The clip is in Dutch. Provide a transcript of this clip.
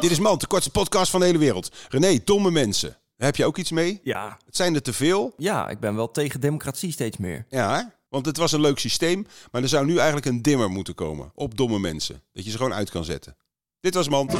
Dit is Man, de kortste podcast van de hele wereld. René, domme mensen. Heb je ook iets mee? Ja. Het zijn er te veel. ja, ik ben wel tegen democratie steeds meer. Ja, hè? want het was een leuk systeem. Maar er zou nu eigenlijk een dimmer moeten komen op domme mensen. Dat je ze gewoon uit kan zetten. Dit was Mand.